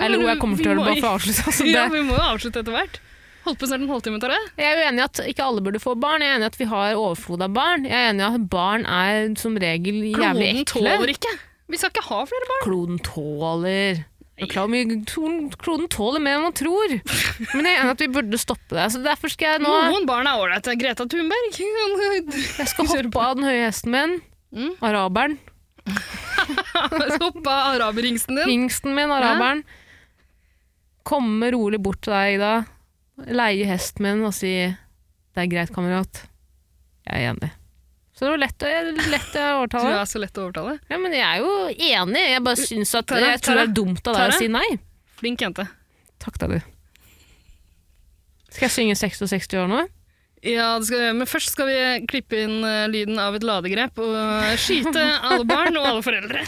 Eller jo,
Men
jeg kommer til å
vi
gjøre det bare
må-
for å avslutte. Altså, det.
*laughs* Ja, vi må jo avslutte etter hvert. Holdt på snart en halvtime, Tara.
Jeg er uenig i at ikke alle burde få barn. Jeg er enig i at vi har overflod av barn. Jeg er enig i at barn er som regel jævlig
Kloden
ekle.
tåler ikke. Vi skal ikke ha flere barn.
Kloden tåler Det er klart hvor mye kloden- Kloden tåler mer enn man tror. Men jeg er enig i at vi burde stoppe det. Så derfor skal jeg nå
Noen barn er ålreite.
*laughs*
Greta Thunberg.
Jeg skal hoppe av den høye hesten min.
Mm.
Araberen.
Hoppa araberhingsten din.
Hingsten min, araberen. Komme rolig bort til deg, Ida. leie hest min og si 'det er greit, kamerat'. Jeg er enig. Så det var lett, å- lett å
Du
overtale.
er så lett å overtale.
Ja, men jeg er jo enig. Jeg bare syns at
Tara,
jeg tror det
Tara,
er dumt av deg
Tara.
å si nei.
Flink jente.
Takk da, du. Skal jeg synge 66 år nå?
Ja, det skal vi gjøre, men først skal vi klippe inn eh, lyden av et ladegrep og skyte
*laughs*
alle barn og alle foreldre.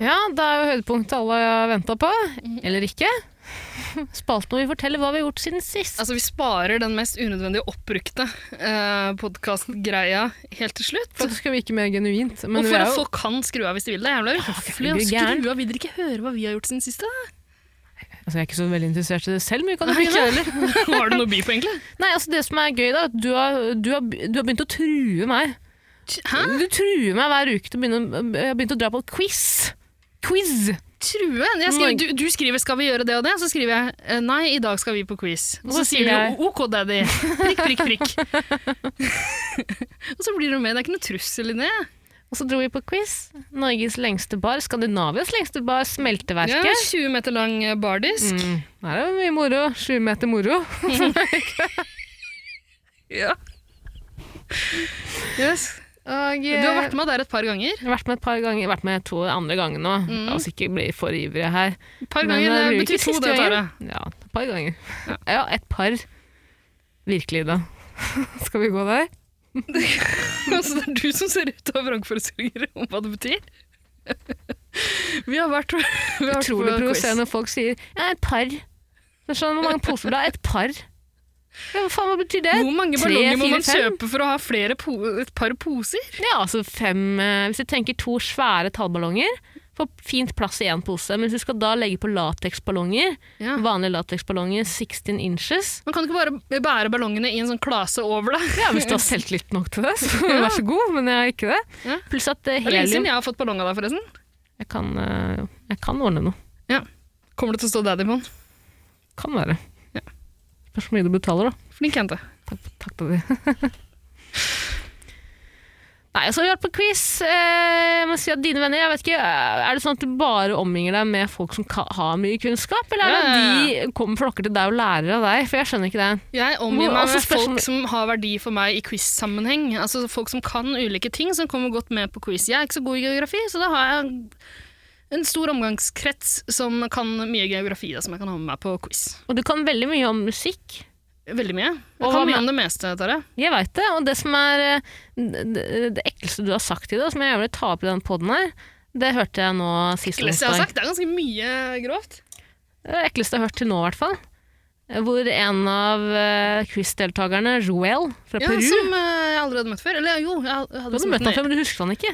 Ja, det er jo høydepunktet alle har venta på. Eller ikke. Spalten hvor vi forteller hva vi har gjort siden sist.
Altså, vi sparer den mest unødvendige og oppbrukte eh, podkastgreia helt til slutt.
Hvorfor skal vi ikke mer genuint? Men
Og
vi
for
er
at
jo
folk kan skru av hvis de vil det. Jævla uhøflig
jeg
å
blir gæren.
skru av. Vil dere ikke høre hva vi har gjort siden siste? da?
altså, Jeg er ikke så veldig interessert i det selv, men vi kan jo
Nei,
begynne.
ikke heller. Har du noe å by på, egentlig?
Nei, altså Det som er gøy, da, er at du har, du har, du har begynt å true meg.
Hæ?
Du truer meg hver uke til å begynne Jeg har begynt å dra på quiz. Quiz!
True? Jeg skriver, du, du skriver 'skal vi gjøre det og det', så skriver jeg eh, 'nei, i dag skal vi på quiz'.
Og
Og så
så
sier
sier jeg-
du 'ok, daddy'. Prikk, prikk, prikk. *laughs* og så blir du med. Det er ikke noe trussel i det.
Og så dro vi på quiz. Norges lengste bar, Skandinavias lengste bar,
Ja,
Smelteverket.
20 meter lang eh, bardisk.
Mm, her er det mye moro. Sju meter moro.
Ja. Yes.
Og,
Du har vært med der et par ganger.
Jeg har vært med et par ganger, jeg har vært med to andre ganger nå.
Mm.
La oss ikke bli for ivrige her.
Et par
Men eh,
ganger
det
det
blir jo
betyr
ikke
to,
siste
det,
gangen.
*laughs* Tara.
Ja, et par ganger. *laughs* Ja, et par. Virkelig, da. *laughs* Skal vi gå der?
Altså, det er du som ser ut av vrangforestillinger om hva det betyr. *laughs* Vi har vært, vi har vært
Utrolig
på quiz.
provoserende når folk sier ja, et par. Så skjønner du hvor mange poser du har. Et par. Ja, hva faen, hva betyr det?
Hvor mange
Tre,
ballonger må
fire,
man
fem?
kjøpe for å ha flere po et par poser?
Ja, altså fem eh, Hvis du tenker to svære tallballonger, får fint plass i én pose. Men hvis du skal da legge på lateksballonger,
Ja.
vanlige lateksballonger, 16 inches
Man kan du ikke bare bære ballongene i en sånn klase over deg.
*laughs* Ja, Hvis du har selvtillit nok til det,
*laughs*
så vær så god, men jeg har ikke det.
Ja.
Pluss at eh,
Det er lenge
helium
siden jeg har fått ballong av deg, forresten.
jeg kan, eh, jeg kan ordne noe.
Kommer det til å stå daddy på den?
Kan være.
Ja.
Spørs hvor mye du betaler, da.
Flink jente.
Takk, takk til deg. *laughs* Nei, så har vi vært på quiz. Eh, men si at dine venner, jeg vet ikke, eh, Er det sånn at du bare omgir deg med folk som ka har mye kunnskap, eller er det
Ja, ja,
at de kommer flokker til deg og lærer av deg? For jeg skjønner ikke det.
Jeg omgir
Hvor-
meg
altså,
med
spørsmål-
folk som har verdi for meg i quiz-sammenheng. Altså folk som kan ulike ting, som kommer godt med på quiz. Jeg er ikke så god i geografi, så da har jeg en stor omgangskrets som kan mye geografi, da, som jeg kan ha med meg på quiz.
Og du kan veldig mye om musikk.
Veldig mye. Jeg
Og hva
kan
med-
mye om det meste, Tare.
Jeg veit det, og det som er eh, det, det ekleste du har sagt i det, og som jeg gjerne vil ta opp i den poden her, det hørte jeg nå sist
Eller, som jeg har sagt, det er ganske mye grovt.
Det er det ekleste jeg har hørt til nå, i hvert fall. Hvor en av eh, quiz-deltakerne, Joel fra
Ja,
Peru
Som eh, jeg aldri hadde møtt før. Eller jo, jeg hadde,
Du hadde møtt ham før, men du husker han ikke.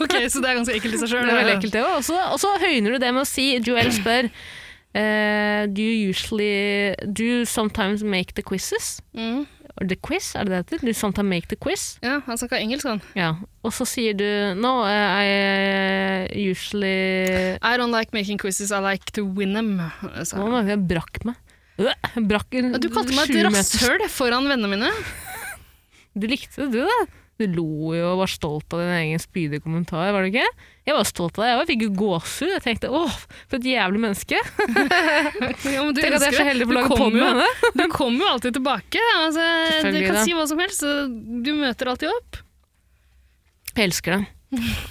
Ok, Så det er ganske ekkelt i
Det
seg sjøl.
er veldig ekkelt, det også. Og så- Og så høyner du det med å si Joel spør eh, Do you usually Do you sometimes make the quizzes?
Mm.
Or the quiz, er det det heter? Do you sometimes make the quiz?
Ja, han snakka engelsk, han.
Ja, og så sier du No, I I usually
I don't like making quizzes, I like to win them. sa
Nå
han.
merker jeg jeg brakk meg. Øh, Brakk en
Ja, Du kalte meg
sju meter-
et rasshøl foran vennene mine.
Du likte det, du, da. Du lo jo og var stolt av din egen spydige kommentar, var du ikke? Jeg var stolt av deg, og jeg fikk jo gåsehud. Jeg tenkte åh, for et jævlig menneske.
Ja, men du
Tenk at jeg er så
elsker
heldig på å
det.
lage
Du
pod
kommer
med
jo-
henne.
Du kommer jo alltid tilbake. Altså, du
Selvfølgelig
kan
da.
si hva som helst. så Du møter alltid opp.
Jeg elsker
*laughs*
det.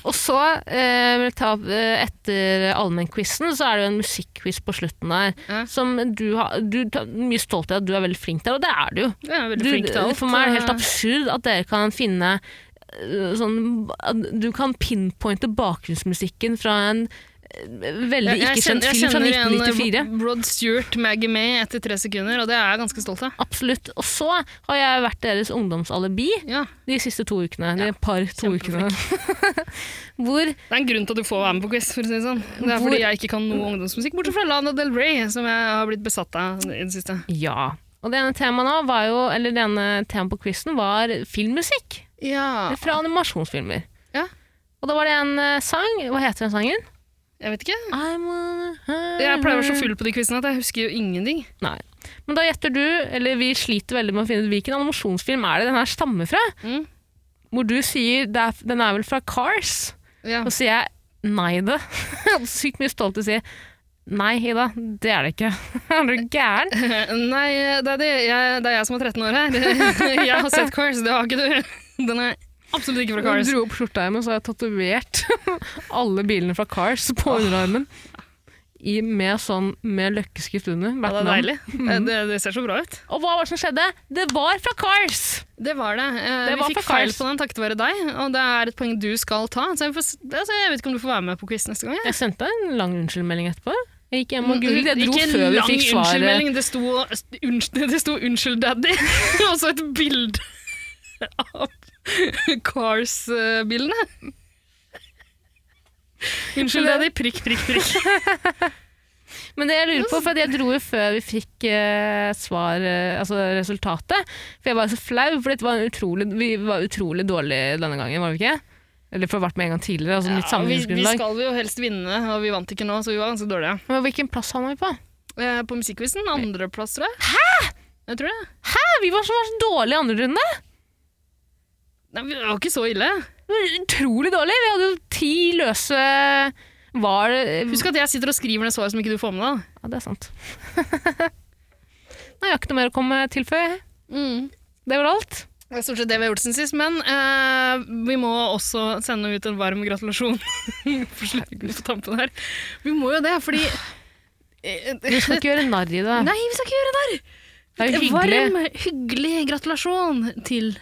Og så, eh, vil jeg ta, opp, eh, etter allmennquizen, så er det jo en musikkquiz på slutten der.
Ja.
Som du har du, tar Mye stolt av at du er veldig flink der, og det er du jo.
Du er veldig
Du,
flink til alt.
for meg er det helt absurd at dere kan finne øh, sånn, at du kan pinpointe bakgrunnsmusikken fra en øh, veldig ikke-kjent film fra 1994.
igjen eh, Rod Stewart, Maggie May etter tre sekunder, og det er jeg ganske stolt av.
Absolutt. Og så har jeg vært deres ungdomsalibi
Ja.
de siste to ukene. De par to ukene. *laughs*
kjempeflink.
Hvor
Det er en grunn til at du får være med på quiz. for å si Det sånn. Det er
Hvor-
fordi jeg ikke kan noe ungdomsmusikk, bortsett fra Lana Del Rey, som jeg har blitt besatt av i det siste.
Ja. Og det ene temaet nå var jo, eller det ene temaet på quizen var filmmusikk
Ja,
fra animasjonsfilmer.
Ja.
Og da var det en eh, sang. Hva heter den sangen?
jeg vet ikke.
I'm on
Mm. Jeg pleier å være så full på de quizene at jeg husker jo ingenting.
Nei. Men da gjetter du, eller vi sliter veldig med å finne ut hvilken animasjonsfilm er det den her stammer fra.
Mm.
Hvor du sier det er, den er vel fra Cars.
Ja.
*laughs* Og så sier jeg nei det. Sykt mye stolt til å si Nei, Ida, det er det ikke. *laughs* Er du gæren?
*laughs* Nei, det er, det. Jeg, det er jeg som er 13 år her. *laughs* Jeg har sett Cars, det har ikke du. *laughs* Den er absolutt ikke fra
Jeg
Cars.
dro opp skjortearmen, så har jeg tatovert *laughs* alle bilene fra Cars på underarmen. I, med sånn med løkkeskrift under.
Ja,
hvert
det er
navn.
deilig. Det, det ser så bra ut.
Og hva var det som skjedde? Det var fra Cars!
Det var det. Eh,
Det
vi
var
fikk
fra
feil
Cars.
på den takket være deg, og det er et poeng du skal ta. Så jeg, får, s- altså, jeg vet ikke om du får være med på quiz neste gang. jeg.
Jeg sendte en lang unnskyldmelding etterpå. Jeg gikk hjem og googlet. Jeg dro
Mm, Ikke en
før vi
lang
fikk svaret.
unnskyldmelding, Det sto, unnskyld, det sto 'unnskyld, daddy', *laughs* og så et bilde av Cars-bilene. Unnskyld, daddy. Prikk, prikk, prikk.
Men det jeg lurer på, for at jeg dro jo før vi fikk eh, svar, eh, altså resultatet. For jeg var så flau, for dette var en utrolig, vi var utrolig dårlige denne gangen, var vi ikke? Eller for det har vært med en gang tidligere. altså nytt
Ja, vi, vi
sammenligningsgrunnlag.
skal jo helst vinne, og vi vant ikke nå, så vi var ganske dårlige.
Men hvilken plass havna vi på?
Eh, På musikkquizen andreplass, tror jeg. Hæ?! Jeg tror det.
Hæ, vi var så, var så dårlige i andre runde!
Nei, vi var ikke så ille.
Vi var Utrolig dårlige! Vi hadde jo ti løse var det
Husk at jeg sitter og skriver ned svaret som ikke du får med deg.
Ja, det er sant. *laughs* Nei, jeg har ikke noe mer å komme tilføye. jeg.
Mm.
Det var alt.
Det er stort sett det vi har gjort siden sist, men eh, vi må også sende ut en varm gratulasjon *laughs* på slutten på tampen her. Vi må jo det, fordi eh,
Vi skal ikke gjøre narr i det.
Nei, vi skal ikke gjøre det!
det er jo hyggelig.
Varm, hyggelig gratulasjon til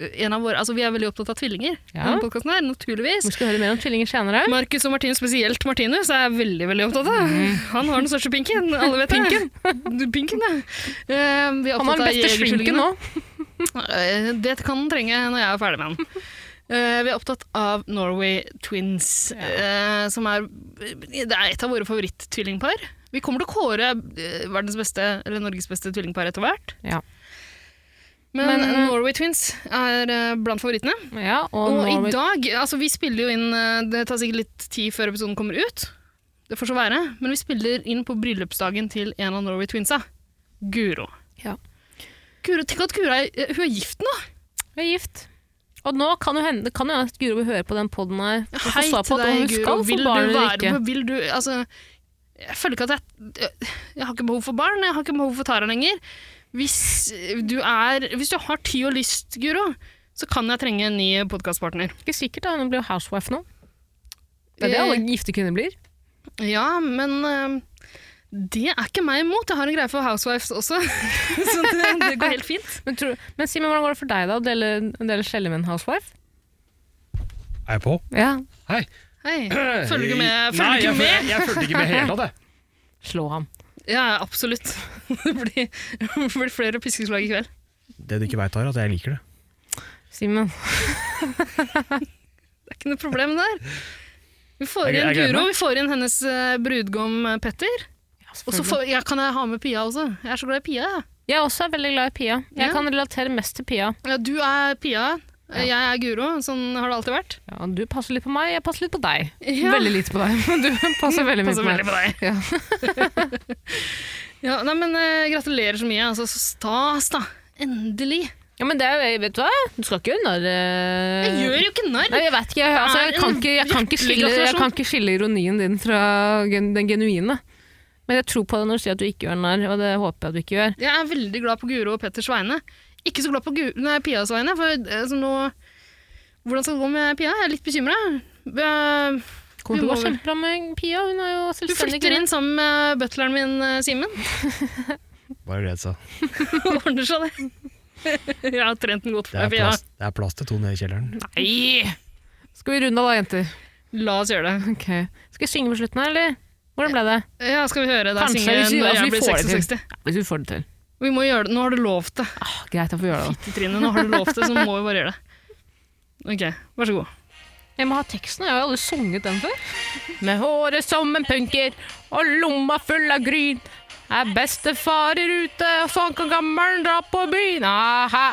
en av våre Altså, vi er veldig opptatt av tvillinger i
Ja.
denne podkasten her, naturligvis.
Vi skal høre mer om tvillinger senere.
Markus og Martinus, spesielt Martinus, er veldig veldig opptatt av.
Mm.
Han har den største pinken. Alle vet det. *laughs* Du, Pinken, ja. Eh, vi er
Han har
opptatt
den
av
beste slinken
jegertvillingene.
nå.
Eh, Det kan den trenge når jeg er ferdig med
*laughs*
den. Eh, vi er opptatt av Norway Twins, eh, som er, det er et av våre favoritttvillingpar. Vi kommer til å kåre eh, verdens beste, eller Norges beste tvillingpar etter hvert.
Ja.
Men,
Men, eh,
Norway Twins er eh, blant favorittene.
Ja, og,
Og i
Norway-
dag Altså, vi spiller jo inn eh, Det tar sikkert litt tid før episoden kommer ut. Det får så være. Men vi spiller inn på bryllupsdagen til en av Norway Twinsa. Guro.
Ja.
Guro, Tenk at Guro er, eh, hun er gift nå!
Vi er gift. Og nå kan jo hende, det kan jo hende at Guro vil høre på den poden her. og få
Hei
svar på at
til
om
deg,
hun
Guro.
skal få
Vil
barn
du
eller
være
ikke.
med? Vil du Altså, jeg føler ikke at jeg Jeg har ikke behov for barn. Jeg har ikke behov for Tara lenger. Hvis du er Hvis du har tid og lyst, Guro, så kan jeg trenge en ny podkastpartner.
Ikke sikkert da, hun blir jo housewife nå. Det er
Eh.
det alle gifte kvinner
*laughs*
blir.
Ja, men eh, det er ikke meg imot. Jeg har en greie for housewives også, *laughs* så det, det går helt fint.
Men, tror, men si meg, hvordan går det for deg da, å dele, å dele celle med en housewife?
Er jeg på?
Ja.
Hei.
Hei, *clears throat* Følger du ikke med?
Nei,
Følger du
jeg,
ikke med?
føl- jeg fulgte ikke med hele
*laughs*
tatt, jeg.
Slå ham.
Ja, absolutt. *laughs* Det blir, det blir flere piskeslag i kveld.
Det du ikke veit, er at jeg liker det.
Simen.
Det er ikke noe problem der. Vi får
Jeg-
inn
jeg gleder
Guro,
meg.
vi får inn hennes eh, brudgom eh, Petter. Og så får, ja, kan jeg ha med Pia også. Jeg er så glad i Pia. jeg.
Jeg også er veldig glad i Pia. Jeg
Ja.
kan relatere mest til Pia.
Ja, du er Pia, eh, jeg er Guro. Sånn har det alltid vært.
Ja, du passer litt på meg, jeg passer litt på deg.
Ja.
Veldig lite på deg, *laughs* men du passer veldig mye
*laughs* Passer
på meg.
veldig på deg.
Ja.
Ja, *laughs* nei, men eh, Gratulerer så mye. Altså, så stas, da. Endelig.
Ja, men det er jo, vet du hva? Du skal ikke gjøre narr eh,
Jeg gjør jo ikke narr!
Nei, jeg vet ikke. Jeg, altså,
Det
jeg,
er
kan
en
ikke, jeg, kan ikke
hjertelig
skille, jeg
gratulasjon.
kan ikke skille ironien din fra gen, den genuine. Men jeg tror på det når du sier at du ikke gjør narr, og det håper jeg at du ikke gjør.
Jeg er veldig glad på Guro og Petters vegne. Ikke så glad på Gu- nei, Pias vegne, for eh, altså, nå Hvordan skal det gå med Pia? Jeg er litt bekymra.
Kommer
Vi
til å gå
må vel-
kjempebra med Pia, hun er jo
Du
selvstendig
flytter
kvinne.
inn sammen med butleren min, eh, Simen. *laughs*
Bare gled seg.
Ordner seg det. *laughs* Jeg har trent den godt
Det
for
er
meg, Pia.
plass, det er plass til to nede i kjelleren.
Nei!
Skal vi runde av da, jenter?
La oss gjøre det.
Ok. Skal jeg synge på slutten her, eller? Hvordan ble det?
Ja, skal vi høre deg
Kanskje
synge
hvis vi-
når
altså, vi
jeg blir
får det til.
66?
Hvis vi får det til.
Vi må gjøre det. Nå har du lovt det.
Ah, greit, jeg får gjøre det. da.
Fitte, Trine, nå har du lovt det, så må vi bare gjøre det. Ok, vær så god.
Jeg må ha teksten, jeg har jo aldri sunget den før. Med håret som en punker og lomma full av gryn. Er bestefar i rute, og sånn kan gammer'n dra på byen. Aha.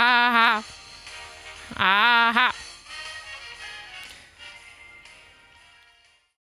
Aha. Aha.